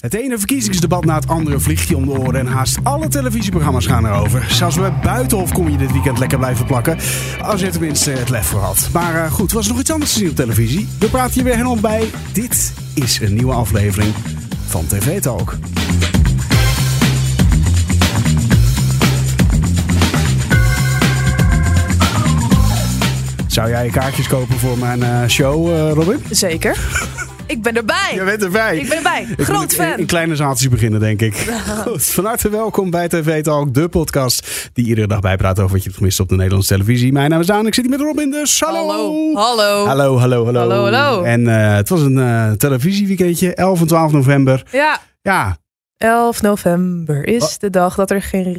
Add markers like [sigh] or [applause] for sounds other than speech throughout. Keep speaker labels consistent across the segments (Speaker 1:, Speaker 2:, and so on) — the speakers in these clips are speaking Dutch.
Speaker 1: Het ene verkiezingsdebat na het andere vliegt je om de oren en haast alle televisieprogramma's gaan erover. Zelfs bij Buitenhof kom je dit weekend lekker blijven plakken, als je er tenminste het lef voor had. Maar eh, goed, was er nog iets anders te zien op televisie? We praten je weer helemaal bij. Dit is een nieuwe aflevering van TV Talk. Zou jij je kaartjes kopen voor mijn eh, show, eh, Robin? [laughs]
Speaker 2: Zeker. Ik ben erbij.
Speaker 1: Je bent erbij.
Speaker 2: Ik ben erbij.
Speaker 1: Ik
Speaker 2: Groot
Speaker 1: moet in-
Speaker 2: fan.
Speaker 1: In kleine zaaltjes beginnen, denk
Speaker 2: [laughs]
Speaker 1: ik. Goed, van harte welkom bij TV Talk, de podcast die iedere dag bijpraat over wat je hebt gemist op de Nederlandse televisie. Mijn naam is Daan, ik zit hier met Robin, dus hallo.
Speaker 2: Hallo. Hallo.
Speaker 1: Hallo, hallo, hallo.
Speaker 2: Hallo, hallo.
Speaker 1: En eh, het was een eh, televisieweekendje, 11 en 12 november.
Speaker 2: Ja,
Speaker 1: Ja,
Speaker 2: 11 november is
Speaker 1: Wat?
Speaker 2: de dag dat er geen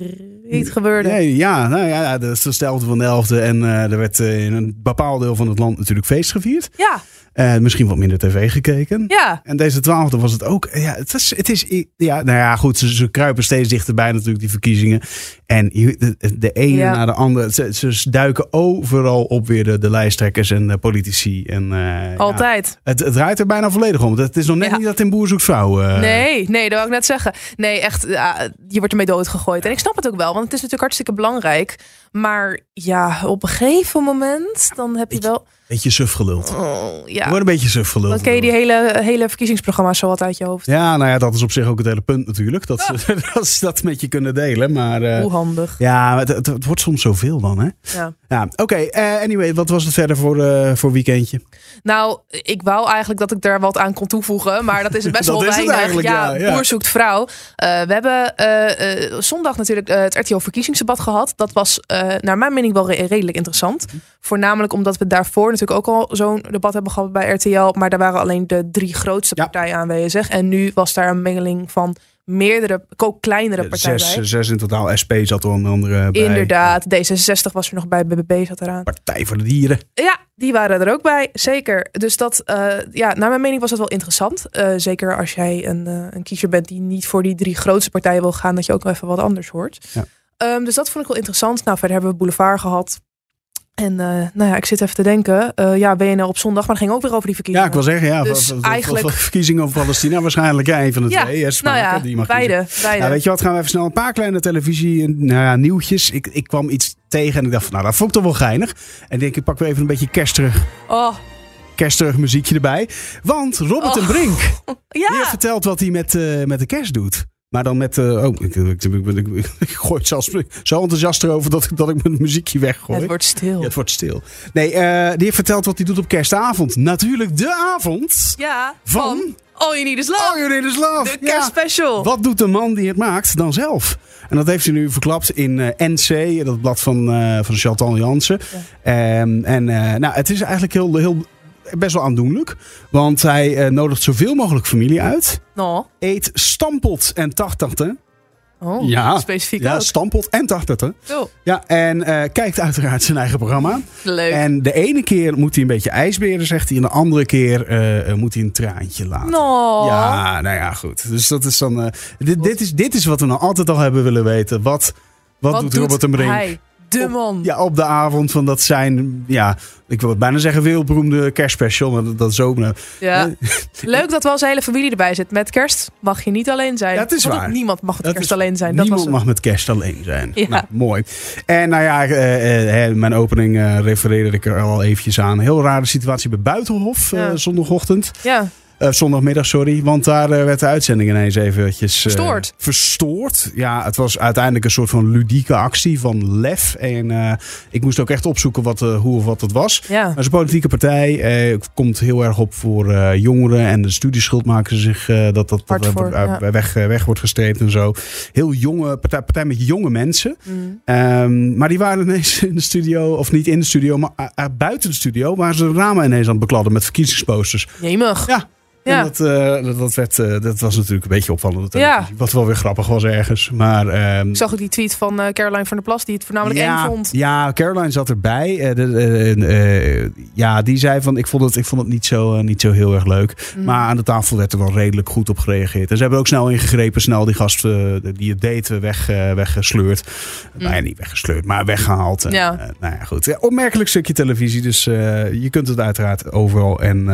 Speaker 2: reet gebeurde.
Speaker 1: nee, ja, nou ja, dat is de 11e van de 11e. En eh, er werd eh, in een bepaald deel van het land natuurlijk feest gevierd.
Speaker 2: Ja,
Speaker 1: Eh, misschien wat minder tv gekeken.
Speaker 2: ja.
Speaker 1: En deze twaalfde was het ook. Ja, het is, het is ja, nou ja, goed, ze, ze kruipen steeds dichterbij natuurlijk, die verkiezingen. En je- de, de ene
Speaker 2: Ja.
Speaker 1: na de andere, ze, ze duiken overal op weer de, de lijsttrekkers en de politici. En, eh, ja,
Speaker 2: Altijd.
Speaker 1: het, het draait er bijna volledig om. Het is nog net
Speaker 2: Ja.
Speaker 1: niet dat in Boer zoekt vrouw. eh,
Speaker 2: Nee, nee, dat wil ik net zeggen. Nee, echt, ja, je wordt ermee doodgegooid. En ik snap het ook wel, want het is natuurlijk hartstikke belangrijk. Maar ja, op een gegeven moment, dan heb je
Speaker 1: Ik-
Speaker 2: wel...
Speaker 1: Beetje suf geluld.
Speaker 2: Oh,
Speaker 1: Er
Speaker 2: ja,
Speaker 1: Wordt een beetje suf geluld.
Speaker 2: dan ken je die hele, hele verkiezingsprogramma's zo wat uit je hoofd.
Speaker 1: Ja, nou ja, dat is op zich ook het hele punt natuurlijk. Dat, ze, [laughs] dat ze dat met je kunnen delen. Maar eh,
Speaker 2: Hoe handig.
Speaker 1: ja, het, het, het wordt soms zoveel dan, hè?
Speaker 2: Ja.
Speaker 1: Ja, oké. eh, anyway, wat was het verder voor, eh, voor weekendje?
Speaker 2: Nou, ik wou eigenlijk dat ik daar wat aan kon toevoegen, maar dat is
Speaker 1: [laughs] Dat
Speaker 2: best wel
Speaker 1: is het
Speaker 2: weinig.
Speaker 1: eigenlijk, ja, ja.
Speaker 2: boer zoekt vrouw. Eh, we hebben eh, eh, zondag natuurlijk eh, het RTL verkiezingsdebat gehad. Dat was eh, naar mijn mening wel re- redelijk interessant.
Speaker 1: Mhm.
Speaker 2: Voornamelijk omdat we daarvoor natuurlijk ook al zo'n debat hebben gehad bij RTL, maar daar waren alleen de drie grootste
Speaker 1: Ja.
Speaker 2: partijen aanwezig. En nu was daar een mengeling van meerdere, ook kleinere partijen
Speaker 1: zes,
Speaker 2: bij.
Speaker 1: zes in totaal. SP zat er onder andere bij.
Speaker 2: Inderdaad, D66 was er nog bij, BBB zat eraan.
Speaker 1: Partij voor de Dieren.
Speaker 2: Ja, die waren er ook bij, zeker. Dus dat, eh, ja, naar mijn mening was dat wel interessant. Eh, zeker als jij een, eh, een kiezer bent die niet voor die drie grootste partijen wil gaan, dat je ook wel even wat anders hoort.
Speaker 1: Ja.
Speaker 2: Ehm, dus dat vond ik wel interessant. Nou, verder hebben we Boulevard gehad. En eh, nou ja, ik zit even te denken. Eh, ja, WNL op zondag, maar dat ging ook weer over
Speaker 1: Ja,
Speaker 2: die verkiezingen.
Speaker 1: ik wil zeggen, ja,
Speaker 2: Dus
Speaker 1: wat- wat-
Speaker 2: eigenlijk-
Speaker 1: wat- wat verkiezingen over Palestina waarschijnlijk. Ja, een van de
Speaker 2: Ja,
Speaker 1: twee. Yes,
Speaker 2: Nou ja,
Speaker 1: maar, die mag kiezen.
Speaker 2: beide. beide.
Speaker 1: Nou, weet je wat, gaan we even snel een paar kleine televisie nou ja, nieuwtjes. Ik, ik kwam iets tegen en ik dacht, van, nou dat vond ik toch wel geinig. En ik denk, ik pak weer even een beetje kersterig,
Speaker 2: Oh,
Speaker 1: kersterig muziekje erbij. Want Robert en
Speaker 2: Oh.
Speaker 1: [laughs] Brink, die heeft
Speaker 2: ja.
Speaker 1: verteld wat hij met, eh, met de kerst doet. Maar dan met, eh, oh, ik, ik, ik, ik- ik- ik gooi het zelfs zo enthousiast erover dat, ik- dat ik mijn muziekje weggooi.
Speaker 2: Het wordt stil.
Speaker 1: Ja,
Speaker 2: Ja,
Speaker 1: het wordt stil. Nee, eh, die heeft verteld wat hij doet op kerstavond. Natuurlijk de avond van...
Speaker 2: van All You Need Is Love.
Speaker 1: Oh, jullie is love.
Speaker 2: de
Speaker 1: Ja.
Speaker 2: kerstspecial.
Speaker 1: Wat doet de man die het maakt dan zelf? En dat heeft hij nu verklapt in eh, NC, dat blad van, eh van Chantal Jansen. Ehm, en eh, nou, het is eigenlijk heel, heel, best wel aandoenlijk. Want hij eh, nodigt zoveel mogelijk familie uit.
Speaker 2: Nou,
Speaker 1: Eet stampot en tachtigte.
Speaker 2: oh,
Speaker 1: Ja.
Speaker 2: specifiek
Speaker 1: Ja,
Speaker 2: ook.
Speaker 1: stampot en tachtigte.
Speaker 2: Zo,
Speaker 1: Ja, en eh, kijkt uiteraard zijn eigen programma.
Speaker 2: leuk.
Speaker 1: En de ene keer moet hij een beetje ijsberen, zegt hij. En de andere keer eh, eh, moet hij een traantje laten.
Speaker 2: Nou.
Speaker 1: Ja, nou ja, goed. Dus dat is dan. eh, dit, dit, is, dit is wat we nou altijd al hebben willen weten. Wat, wat, doet Robert en Brink?
Speaker 2: hij? De
Speaker 1: Op-
Speaker 2: man.
Speaker 1: Ja, op de avond van dat zijn, ja, ik wil het bijna zeggen, wereldberoemde kerstspecial. Maar dat, dat is ook. nou,
Speaker 2: Ja.
Speaker 1: [laughs] eh,
Speaker 2: Leuk dat wel zijn hele familie erbij zit. Met kerst mag je niet alleen zijn.
Speaker 1: Ja, het is
Speaker 2: Want
Speaker 1: waar.
Speaker 2: Niemand mag met
Speaker 1: Dat
Speaker 2: kerst
Speaker 1: is-
Speaker 2: alleen zijn. Dat
Speaker 1: Niemand
Speaker 2: was
Speaker 1: mag met kerst alleen zijn.
Speaker 2: Ja.
Speaker 1: Nou, mooi. En nou ja, eh, eh, hè, mijn opening eh, refereerde ik er al eventjes aan. Heel rare situatie bij Buitenhof eh,
Speaker 2: Ja.
Speaker 1: zondagochtend.
Speaker 2: het. Ja.
Speaker 1: Eh, zondagmiddag, sorry. Want daar eh, werd de uitzending ineens eventjes... eh,
Speaker 2: Verstoord.
Speaker 1: verstoord. Ja, het was uiteindelijk een soort van ludieke actie van lef. En eh, ik moest ook echt opzoeken wat, eh, hoe of wat het was.
Speaker 2: ja.
Speaker 1: Maar het is een politieke partij. eh, komt heel erg op voor eh, jongeren. En de studieschuld maken ze zich eh, dat dat, dat
Speaker 2: Hard voor,
Speaker 1: eh,
Speaker 2: ja.
Speaker 1: weg, eh, weg wordt gestreept en zo. Heel jonge partij, partij met jonge mensen.
Speaker 2: Mm.
Speaker 1: Ehm, maar die waren ineens in de studio, of niet in de studio, maar eh, eh, buiten de studio, waren ze de ramen ineens aan het bekladden met verkiezingsposters.
Speaker 2: Jemig.
Speaker 1: Ja.
Speaker 2: Ja.
Speaker 1: En dat, eh, dat, dat, werd, eh, dat was natuurlijk een beetje opvallend. op televisie. Wat wel weer grappig was ergens. Maar, ehm,
Speaker 2: Ik zag ook die tweet van eh, Caroline van der Plas die het voornamelijk
Speaker 1: ja,
Speaker 2: eng vond.
Speaker 1: Ja, Caroline zat erbij. Eh, de- de- eh, eh, ja, die zei van ik vond het, ik vond het niet, zo, eh, niet zo heel erg leuk.
Speaker 2: Mm.
Speaker 1: Maar aan de tafel werd er wel redelijk goed op gereageerd. En ze hebben ook snel ingegrepen, snel die gast eh, die het deed eh, weg, eh, weggesleurd.
Speaker 2: Mm.
Speaker 1: Nou ja, niet weggesleurd, maar weggehaald. En,
Speaker 2: Ja.
Speaker 1: eh, nou ja, goed. Ja, opmerkelijk stukje televisie. Dus eh, je kunt het uiteraard overal en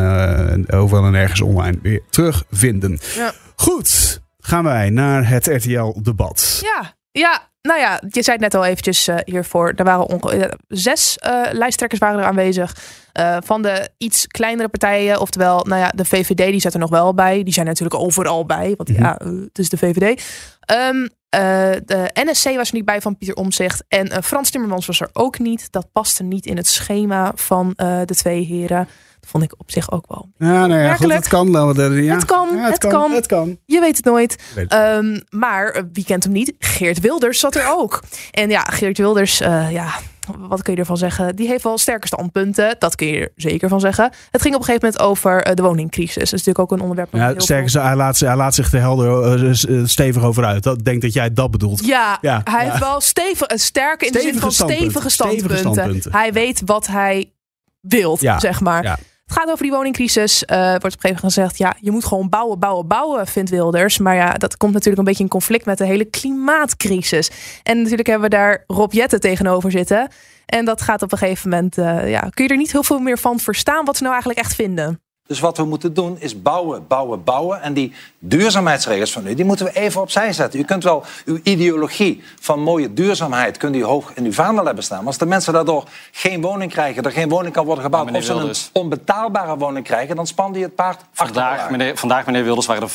Speaker 1: eh, overal en ergens online weer terugvinden.
Speaker 2: Ja.
Speaker 1: Goed, gaan wij naar het RTL-debat.
Speaker 2: Ja, ja, nou ja, je zei het net al eventjes eh, hiervoor. Er waren onge- eh, zes eh, lijsttrekkers waren er aanwezig. eh, van de iets kleinere partijen. Oftewel, nou ja, de VVD die zat er nog wel bij. Die zijn er natuurlijk overal bij. Want
Speaker 1: Mhm.
Speaker 2: ja, eh, het is de VVD. Ehm, eh, de NSC was er niet bij van Pieter Omzicht. En eh, Frans Timmermans was er ook niet. Dat paste niet in het schema van eh, de twee heren. Dat vond ik op zich ook wel.
Speaker 1: Ja, nou ja, goed,
Speaker 2: Werkelijk?
Speaker 1: het kan. laten we er- Ja.
Speaker 2: Het kan,
Speaker 1: Ja,
Speaker 2: het kan.
Speaker 1: het kan.
Speaker 2: Je weet het nooit.
Speaker 1: Weet het.
Speaker 2: Ehm, maar eh, wie kent hem niet? Geert Wilders zat er ook. En ja, Geert Wilders, eh, ja, wat kun je ervan zeggen? Die heeft wel sterke standpunten. Dat kun je er zeker van zeggen. Het ging op een gegeven moment over eh, de woningcrisis. Dat is natuurlijk ook een onderwerp. dat
Speaker 1: Ja,
Speaker 2: heel
Speaker 1: sterker, hij laat, zich- hij laat zich er helder eh, s- eh, stevig over uit. Dat, ik denk dat jij dat bedoelt.
Speaker 2: veel- Ja,
Speaker 1: Ja,
Speaker 2: hij
Speaker 1: ja.
Speaker 2: heeft wel stevig, eh, sterke in de
Speaker 1: Stevige
Speaker 2: zin van
Speaker 1: standpunten.
Speaker 2: stevige
Speaker 1: Stevige
Speaker 2: standpunten.
Speaker 1: standpunten.
Speaker 2: Hij weet wat hij wilt,
Speaker 1: Ja,
Speaker 2: zeg maar.
Speaker 1: ja.
Speaker 2: Het gaat over die woningcrisis. Eh, wordt op een gegeven moment gezegd, ja, je moet gewoon bouwen, bouwen, bouwen, vindt Wilders. Maar ja, dat komt natuurlijk een beetje in conflict met de hele klimaatcrisis. En natuurlijk hebben we daar Rob Jetten tegenover zitten. En dat gaat op een gegeven moment, eh, ja, kun je er niet heel veel meer van verstaan wat ze nou eigenlijk echt vinden.
Speaker 3: Dus wat we moeten doen is bouwen, bouwen, bouwen. En die duurzaamheidsregels van u, die moeten we even opzij zetten. U kunt wel uw ideologie van mooie duurzaamheid kunt u hoog in uw vaandel hebben staan. Maar als de mensen daardoor geen woning krijgen, er geen woning kan worden gebouwd...
Speaker 4: Maar
Speaker 3: of
Speaker 4: meneer
Speaker 3: ze een
Speaker 4: Wilders.
Speaker 3: onbetaalbare woning krijgen, dan spande je het paard
Speaker 4: Vandaag
Speaker 3: achterwaarts.
Speaker 4: meneer, vandaag, meneer Wilders, waren er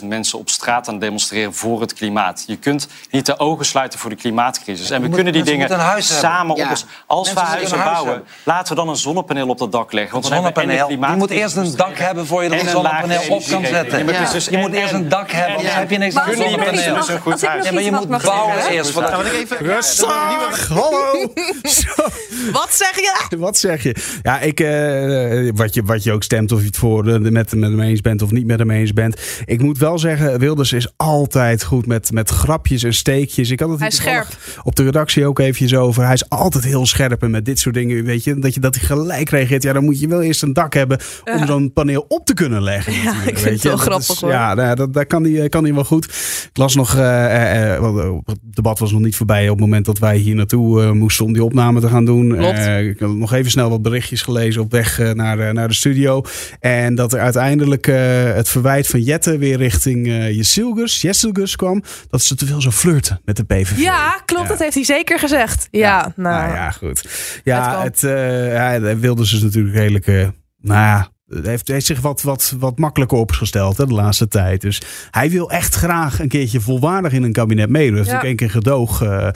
Speaker 4: 85.000 mensen op straat aan het demonstreren voor het klimaat. Je kunt niet de ogen sluiten voor de klimaatcrisis. En we
Speaker 3: moeten-
Speaker 4: kunnen die
Speaker 3: mensen
Speaker 4: dingen
Speaker 3: moeten een huis hebben.
Speaker 4: samen
Speaker 5: Ja.
Speaker 4: op. eens- Als
Speaker 3: Mensen
Speaker 4: we
Speaker 3: moeten
Speaker 4: huizen
Speaker 3: een huis
Speaker 4: bouwen,
Speaker 3: hebben.
Speaker 4: laten we dan een zonnepaneel op dat dak leggen. Want
Speaker 3: Een
Speaker 4: dan hebben we en de
Speaker 3: zonnepaneel. Je moet
Speaker 4: klimaatcrisis
Speaker 3: eerst een dak hebben voor je er
Speaker 4: en
Speaker 3: een
Speaker 4: lage
Speaker 3: zonnepaneel op kan
Speaker 4: energierekening.
Speaker 3: zetten.
Speaker 4: Ja, maar het is
Speaker 5: Ja.
Speaker 4: dus
Speaker 3: Je moet
Speaker 4: en-
Speaker 3: eerst
Speaker 4: en-
Speaker 3: een dak hebben,
Speaker 4: en-
Speaker 3: anders heb je niks
Speaker 6: Maar
Speaker 3: aan
Speaker 6: als
Speaker 3: een
Speaker 6: ik nog iets
Speaker 3: zonnepaneel.
Speaker 4: zonnepaneel is
Speaker 6: mag,
Speaker 4: een goed
Speaker 6: als ik
Speaker 4: huis.
Speaker 6: nog
Speaker 3: Ja, maar
Speaker 6: iets
Speaker 3: je
Speaker 6: mag,
Speaker 3: moet
Speaker 6: mag zeggen,
Speaker 3: bouwen
Speaker 6: hè?
Speaker 3: eerst. want dat-
Speaker 5: Kan ik even...
Speaker 1: Rustig! Hallo! Zo.
Speaker 6: Wat zeg je?
Speaker 1: [laughs] Wat zeg je? Ja, ik, eh, wat, je, wat je ook stemt, of je het voor eh, met, met hem eens bent of niet met hem eens bent. Ik moet wel zeggen, Wilders is altijd goed met, met grapjes en steekjes. Ik had het
Speaker 2: Hij
Speaker 1: hier
Speaker 2: is scherp.
Speaker 1: toevallig op de redactie ook eventjes over. Hij is altijd heel scherp en met dit soort dingen, weet je. Dat, je, dat hij gelijk reageert. Ja, dan moet je wel eerst een dak hebben om zo'n paneel op te kunnen leggen. natuurlijk,
Speaker 2: ik vind
Speaker 1: weet
Speaker 2: het
Speaker 1: je.
Speaker 2: wel
Speaker 1: Dat
Speaker 2: grappig,
Speaker 1: is-
Speaker 2: hoor.
Speaker 1: Ja, nou, dat, daar kan hij, kan hij wel goed. Ik las nog, eh, eh, eh, want, eh, het debat was nog niet voorbij op het moment dat wij hier naartoe eh, moesten om die opname te gaan doen.
Speaker 2: Klopt.
Speaker 1: Eh, ik heb nog even snel wat berichtjes gelezen op weg eh, naar, eh, naar de studio. En dat er uiteindelijk eh, het verwijt van Jette weer richting eh Jesilgus, Jesilgus kwam. Dat ze te veel zou flirten met de PVV.
Speaker 2: Ja, klopt,
Speaker 1: Ja.
Speaker 2: dat heeft hij zeker gezegd. Ja, nou,
Speaker 1: Nou ja, goed. Ja,
Speaker 2: Het
Speaker 1: het, eh ja, de Wilders is natuurlijk redelijk... eh, nou ja, heeft, heeft zich wat, wat, wat makkelijker opgesteld hè, de laatste tijd. Dus hij wil echt graag een keertje volwaardig in een kabinet meedoen. Hij heeft
Speaker 2: Ja.
Speaker 1: ook één keer gedoog, eh,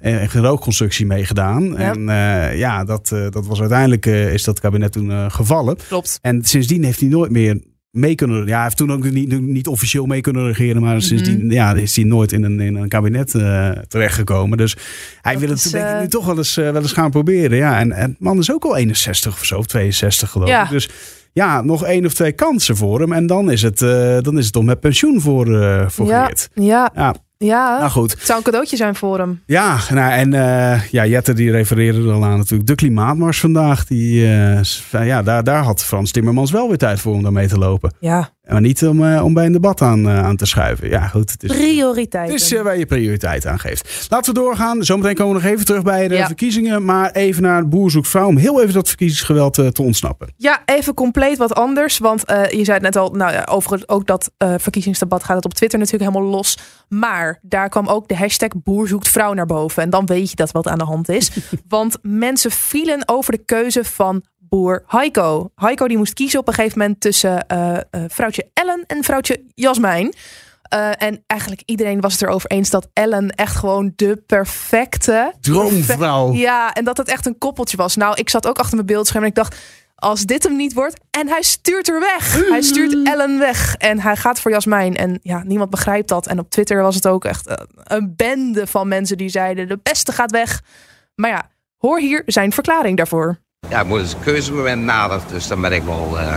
Speaker 1: een gedoogconstructie meegedaan. En eh, ja, dat, eh, dat was uiteindelijk eh, is dat kabinet toen eh, gevallen.
Speaker 2: klopt.
Speaker 1: En sindsdien heeft hij nooit meer mee kunnen. Ja, hij heeft toen ook niet, niet officieel mee kunnen regeren. Maar
Speaker 2: Mhm.
Speaker 1: sindsdien ja, is hij nooit in een, in een kabinet eh, terechtgekomen. Dus hij
Speaker 2: Dat
Speaker 1: wil het
Speaker 2: is,
Speaker 1: denk ik
Speaker 2: eh,
Speaker 1: nu toch wel eens, eh, wel eens gaan proberen. Ja, en, en de man is ook al 61 of zo, of 62 geloof
Speaker 2: Ja.
Speaker 1: ik. Dus ja, nog één of twee kansen voor hem. En dan is het, eh dan is het om met pensioen voor, eh voor
Speaker 2: ja,
Speaker 1: Geert.
Speaker 2: ja,
Speaker 1: Ja,
Speaker 2: ja.
Speaker 1: nou goed.
Speaker 2: Het zou een cadeautje zijn voor hem.
Speaker 1: Ja, nou, en eh, ja, Jette die refereerde er al aan natuurlijk. De klimaatmars vandaag. Die, eh, van, ja, daar, daar had Frans Timmermans wel weer tijd voor om daarmee te lopen.
Speaker 2: Ja,
Speaker 1: Maar niet om, eh, om bij een debat aan, eh, aan te schuiven. Ja, goed. Het is, het
Speaker 2: prioriteiten.
Speaker 1: is eh, waar je prioriteit aan geeft. Laten we doorgaan. Zometeen komen we nog even terug bij de
Speaker 2: Ja.
Speaker 1: verkiezingen. Maar even naar Boer zoekt vrouw. Om heel even dat verkiezingsgeweld eh, te ontsnappen.
Speaker 2: Ja, even compleet wat anders. Want eh, je zei het net al, nou ja, overigens ook dat eh, verkiezingsdebat gaat het op Twitter natuurlijk helemaal los. Maar daar kwam ook de hashtag boer zoekt vrouw naar boven. En dan weet je dat wat aan de hand is. want mensen vielen over de keuze van boer Heiko. Heiko die moest kiezen op een gegeven moment tussen eh, eh, vrouwtje Ellen en vrouwtje Jasmijn. Eh, en eigenlijk iedereen was het erover eens dat Ellen echt gewoon de perfecte
Speaker 1: Droomvrouw.
Speaker 2: ja, en dat het echt een koppeltje was. Nou, ik zat ook achter mijn beeldscherm en ik dacht, als dit hem niet wordt. En hij stuurt er weg. Hij stuurt Ellen weg. En hij gaat voor Jasmijn. En ja, niemand begrijpt dat. En op Twitter was het ook echt eh, een bende van mensen die zeiden, de beste gaat weg. Maar ja, hoor hier zijn verklaring daarvoor.
Speaker 7: Ja, ik moet eens een keuzemoment nadert, dus dan ben ik wel, eh,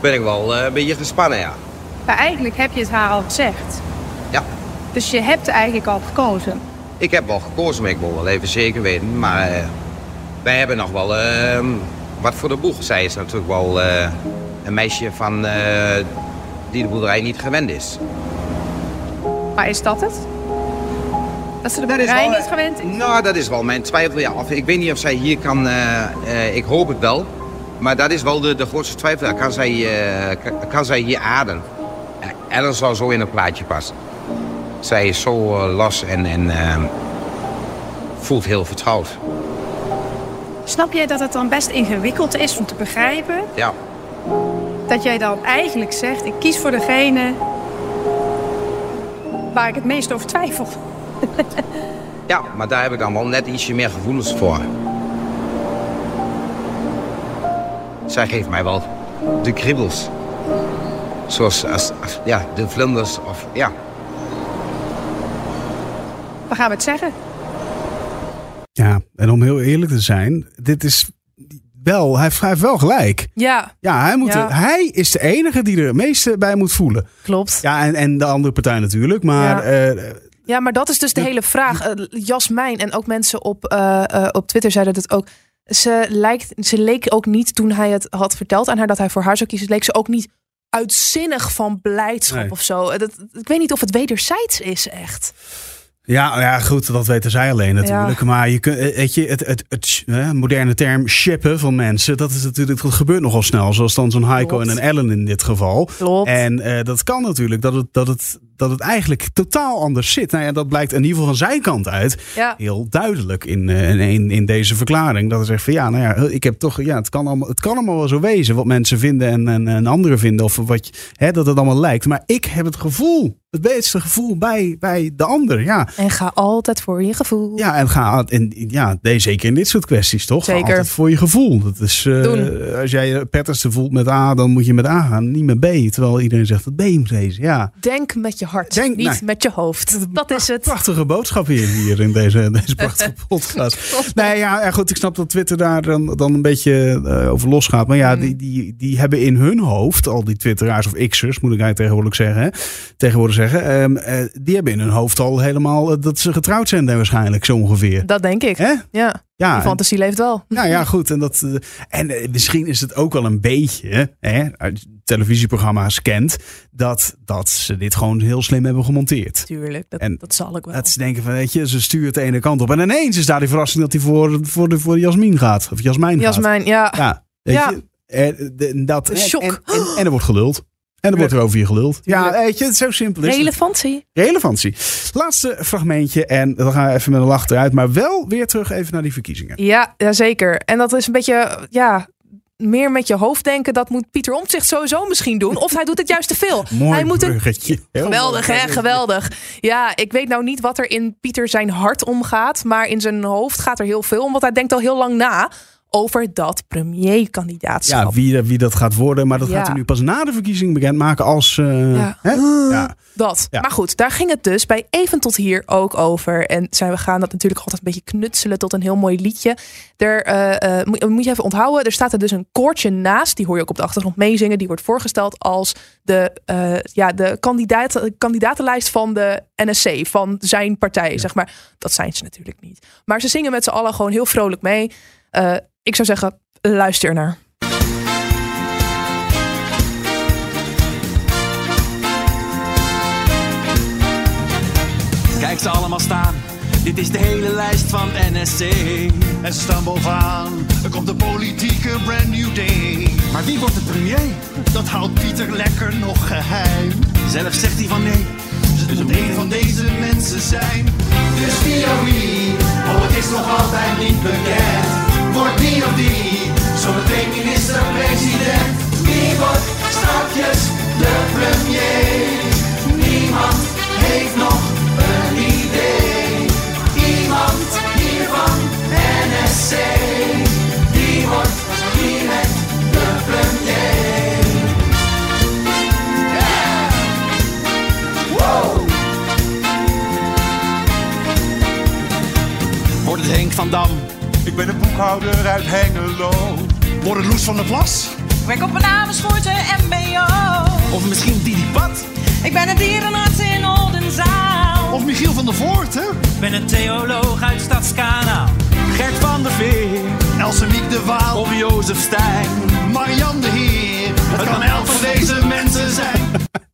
Speaker 7: ben ik wel eh, een beetje gespannen, ja.
Speaker 8: Maar eigenlijk heb je het haar al gezegd.
Speaker 7: Ja,
Speaker 8: Dus je hebt eigenlijk al gekozen.
Speaker 7: ik heb wel gekozen, maar ik wil wel even zeker weten. Maar eh, wij hebben nog wel eh, wat voor de boeg. Zij is natuurlijk wel eh, een meisje van, eh, die de boerderij niet gewend is.
Speaker 8: Maar is dat het? Dat ze de
Speaker 7: Dat is
Speaker 8: boerderij
Speaker 7: wel-
Speaker 8: niet gewend is?
Speaker 7: Nou, dat is wel mijn twijfel. Ja. Of, ik weet niet of zij hier kan. eh, eh, ik eh, hoop het wel. Maar dat is wel de, de grootste twijfel. Kan zij, eh, kan, kan zij hier ademen? En dat zou zo in een plaatje passen. Zij is zo eh, los en, en eh, voelt heel vertrouwd.
Speaker 8: Snap jij dat het dan best ingewikkeld is om te begrijpen
Speaker 7: Ja.
Speaker 8: dat jij dan eigenlijk zegt: ik kies voor degene waar ik het meest over twijfel?
Speaker 7: ja, maar daar heb ik dan wel net ietsje meer gevoelens voor. Zij geeft mij wel de kriebels. Zoals als, als- ja, de vlinders of ja,
Speaker 8: Waar gaan we het zeggen?
Speaker 1: Ja, en om heel eerlijk te zijn, dit is wel, hij heeft, hij heeft wel gelijk.
Speaker 2: Ja,
Speaker 1: Ja, hij, moet
Speaker 2: Ja.
Speaker 1: er- hij is de enige die er het meeste bij moet voelen.
Speaker 2: klopt. Ja,
Speaker 1: Ja, en, en de andere partij natuurlijk, maar eh,
Speaker 2: maar dat is dus de hele vraag. Eh, Jasmijn en ook mensen op, eh, eh, op Twitter zeiden dat ook. Ze, lijkt, ze leek ook niet toen hij het had verteld aan haar dat hij voor haar zou kiezen. Leek ze ook niet uitzinnig van blijdschap
Speaker 1: Nee.
Speaker 2: of zo. Eh, Dat, ik weet niet of het wederzijds is echt.
Speaker 1: Ja, oh ja, goed, dat weten zij alleen natuurlijk. Maar je kunt, eh, weet je, het, het, het eh, moderne term shippen van mensen, dat is natuurlijk, dat gebeurt nogal snel. Zoals dan zo'n Heiko
Speaker 2: Klopt.
Speaker 1: en een Ellen in dit geval.
Speaker 2: Klopt.
Speaker 1: En eh, dat kan natuurlijk, dat het, dat, het, dat het eigenlijk totaal anders zit. Nou ja, dat blijkt in ieder geval van zijn kant uit
Speaker 2: Ja.
Speaker 1: heel duidelijk in, eh, in- in, in deze verklaring. Dat hij zegt van ja, nou ja, ik heb toch, ja, het kan allemaal, het kan allemaal wel zo wezen wat mensen vinden en, en, en anderen vinden. Of wat, je- hè, dat het allemaal lijkt. Maar ik heb het gevoel, het beste gevoel bij, bij de ander. Ja.
Speaker 2: En ga altijd voor je gevoel.
Speaker 1: Ja, en ga en, ja, nee, zeker in dit soort kwesties, toch? Ga
Speaker 2: Zeker.
Speaker 1: Altijd voor je gevoel. Dat is, eh,
Speaker 2: Doen.
Speaker 1: als jij je prettigste voelt met A, dan moet je met A gaan, niet met B. Terwijl iedereen zegt dat B moet wezen. Ja,
Speaker 2: Denk met je hart,
Speaker 1: Denk-
Speaker 2: niet
Speaker 1: nee.
Speaker 2: met je [laughs] hoofd. Dat is het.
Speaker 1: prachtige boodschap hier, hier in
Speaker 2: [laughs]
Speaker 1: deze, deze prachtige podcast. Nee, ja, ja, goed, ik snap dat Twitter daar dan, dan een beetje eh, over losgaat. Maar
Speaker 2: Mm.
Speaker 1: ja, die, die, die hebben in hun hoofd, al die twitteraars of x'ers, moet ik eigenlijk tegenwoordig zeggen, hè, tegenwoordig zeggen ehm, eh, die hebben in hun hoofd al helemaal eh, dat ze getrouwd zijn dan waarschijnlijk, zo ongeveer.
Speaker 2: Dat denk ik.
Speaker 1: Hè?
Speaker 2: Ja,
Speaker 1: Ja,
Speaker 2: die
Speaker 1: en-
Speaker 2: fantasie leeft wel.
Speaker 1: Nou ja, goed. En, dat, eh, en eh, misschien is het ook wel een beetje, hè, uit televisieprogramma's kent, dat, dat ze dit gewoon heel slim hebben gemonteerd.
Speaker 2: Tuurlijk, dat,
Speaker 1: En
Speaker 2: dat zal ik wel.
Speaker 1: Dat ze denken van, weet je, ze stuurt de ene kant op. En ineens is daar die verrassing dat hij voor, voor, de, voor Jasmin gaat. Of Jasmijn gaat.
Speaker 2: Jasmijn, ja.
Speaker 1: Ja, weet
Speaker 2: Ja.
Speaker 1: je. En, de- dat,
Speaker 2: Een
Speaker 1: en,
Speaker 2: shock.
Speaker 1: En, en, en er wordt geluld. En er wordt er over je geluld. Ja, weet je, het is zo simpel is het.
Speaker 2: Relevantie.
Speaker 1: Relevantie. Laatste fragmentje. En dan gaan we even met een lach eruit. Maar wel weer terug even naar die verkiezingen.
Speaker 2: Ja, ja, zeker. En dat is een beetje, ja, meer met je hoofd denken. Dat moet Pieter Omtzigt sowieso misschien doen. Of hij doet het juist te veel.
Speaker 1: [laughs] Mooi
Speaker 2: hij moet een
Speaker 1: bruggetje. Heel
Speaker 2: Geweldig,
Speaker 1: mooi.
Speaker 2: hè? Geweldig. Ja, ik weet nou niet wat er in Pieter zijn hart omgaat. Maar in zijn hoofd gaat er heel veel om. Want hij denkt al heel lang na over dat premierkandidaatschap.
Speaker 1: Ja, wie, wie dat gaat worden. Maar dat
Speaker 2: Ja.
Speaker 1: gaat hij nu pas na de verkiezing bekendmaken als... eh,
Speaker 2: Ja. Ah.
Speaker 1: Hè? ja.
Speaker 2: Dat.
Speaker 1: Ja.
Speaker 2: Maar goed, daar ging het dus bij Even tot hier ook over. En zijn we gaan dat natuurlijk altijd een beetje knutselen tot een heel mooi liedje. Er, eh, eh, moet, moet je even onthouden, er staat er dus een koortje naast. Die hoor je ook op de achtergrond meezingen. Die wordt voorgesteld als de, eh, ja, de kandidaat, kandidatenlijst van de NSC. Van zijn partij, zeg maar. Dat zijn ze natuurlijk niet. Maar ze zingen met z'n allen gewoon heel vrolijk mee. Eh, ik zou zeggen, luister ernaar.
Speaker 5: Kijk ze allemaal staan. Dit is de hele lijst van NSC.
Speaker 6: En ze staan bovenaan, er komt een politieke brand new day.
Speaker 5: Maar wie wordt de premier?
Speaker 6: Dat houdt Pieter lekker nog geheim.
Speaker 5: Zelf zegt hij van nee.
Speaker 6: Ze dus moet een van deze mensen zijn. Dus die of wie, oh het is nog altijd niet bekend. Wordt die of die, zometeen minister-president. Wie wordt straks de premier? Niemand heeft nog een idee. Iemand hier van NSC, die wordt direct de premier.
Speaker 5: Wordt het Henk van Dam?
Speaker 6: Ik ben een boekhouder uit Hengelo. Worden Loes van der Plas?
Speaker 9: Werk op een namensvoorte MBO.
Speaker 5: Of misschien Didi Pat?
Speaker 9: Ik ben een dierenarts in Oldenzaal.
Speaker 6: Of Michiel van der Voorten?
Speaker 9: Ik ben een theoloog uit Stadskanaal.
Speaker 5: Gert van der Veer?
Speaker 6: Elsemiek de Waal? Of
Speaker 5: Of Jozef Stijn?
Speaker 6: Marianne de Heer? Het kan elk van deze mensen zijn.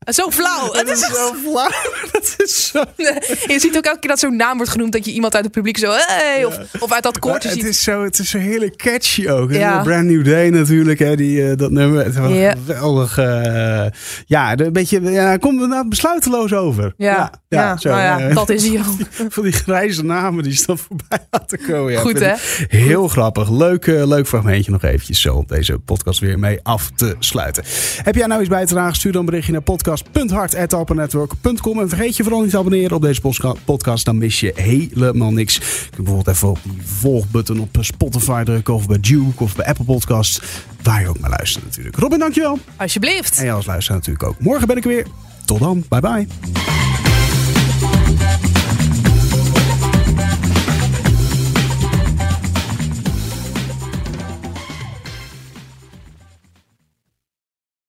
Speaker 2: Zo flauw. Het is echt
Speaker 1: Zo flauw. [laughs] Dat Zo.
Speaker 2: [laughs] je ziet ook elke keer dat zo'n naam wordt genoemd dat je iemand uit het publiek zo hey, of, of uit dat koortje
Speaker 1: het,
Speaker 2: ziet.
Speaker 1: is zo, het is zo hele catchy ook. hè.
Speaker 2: Ja.
Speaker 1: Brand New Day natuurlijk, hè, die, eh, dat nummer. Het was
Speaker 2: Ja.
Speaker 1: geweldig. eh, ja, de- een beetje, ja, hij komt er nou besluiteloos over.
Speaker 2: Ja, ja, nou ja,
Speaker 1: eh,
Speaker 2: dat is hij ook.
Speaker 1: [laughs] Van die grijze namen die staan voorbij aan te komen. Ja,
Speaker 2: Goed,
Speaker 1: vind ik Heel grappig. Leuk, eh, leuk fragmentje nog eventjes zo om deze podcast weer mee af te sluiten. Heb jij nou iets bij te dragen? Stuur dan een berichtje naar podcast.hart.alpennetwork.com En vergeet je vooral niet te abonneren op deze postka- podcast. Dan mis je helemaal niks. Je kunt bijvoorbeeld even op die volgbutton op Spotify drukken. Of bij Duke of bij Apple Podcasts. Waar je ook naar luistert natuurlijk. Robin, dankjewel.
Speaker 2: Alsjeblieft.
Speaker 1: En jij als luisteraar natuurlijk ook. Morgen ben ik er weer. Tot dan. Bye bye.
Speaker 6: I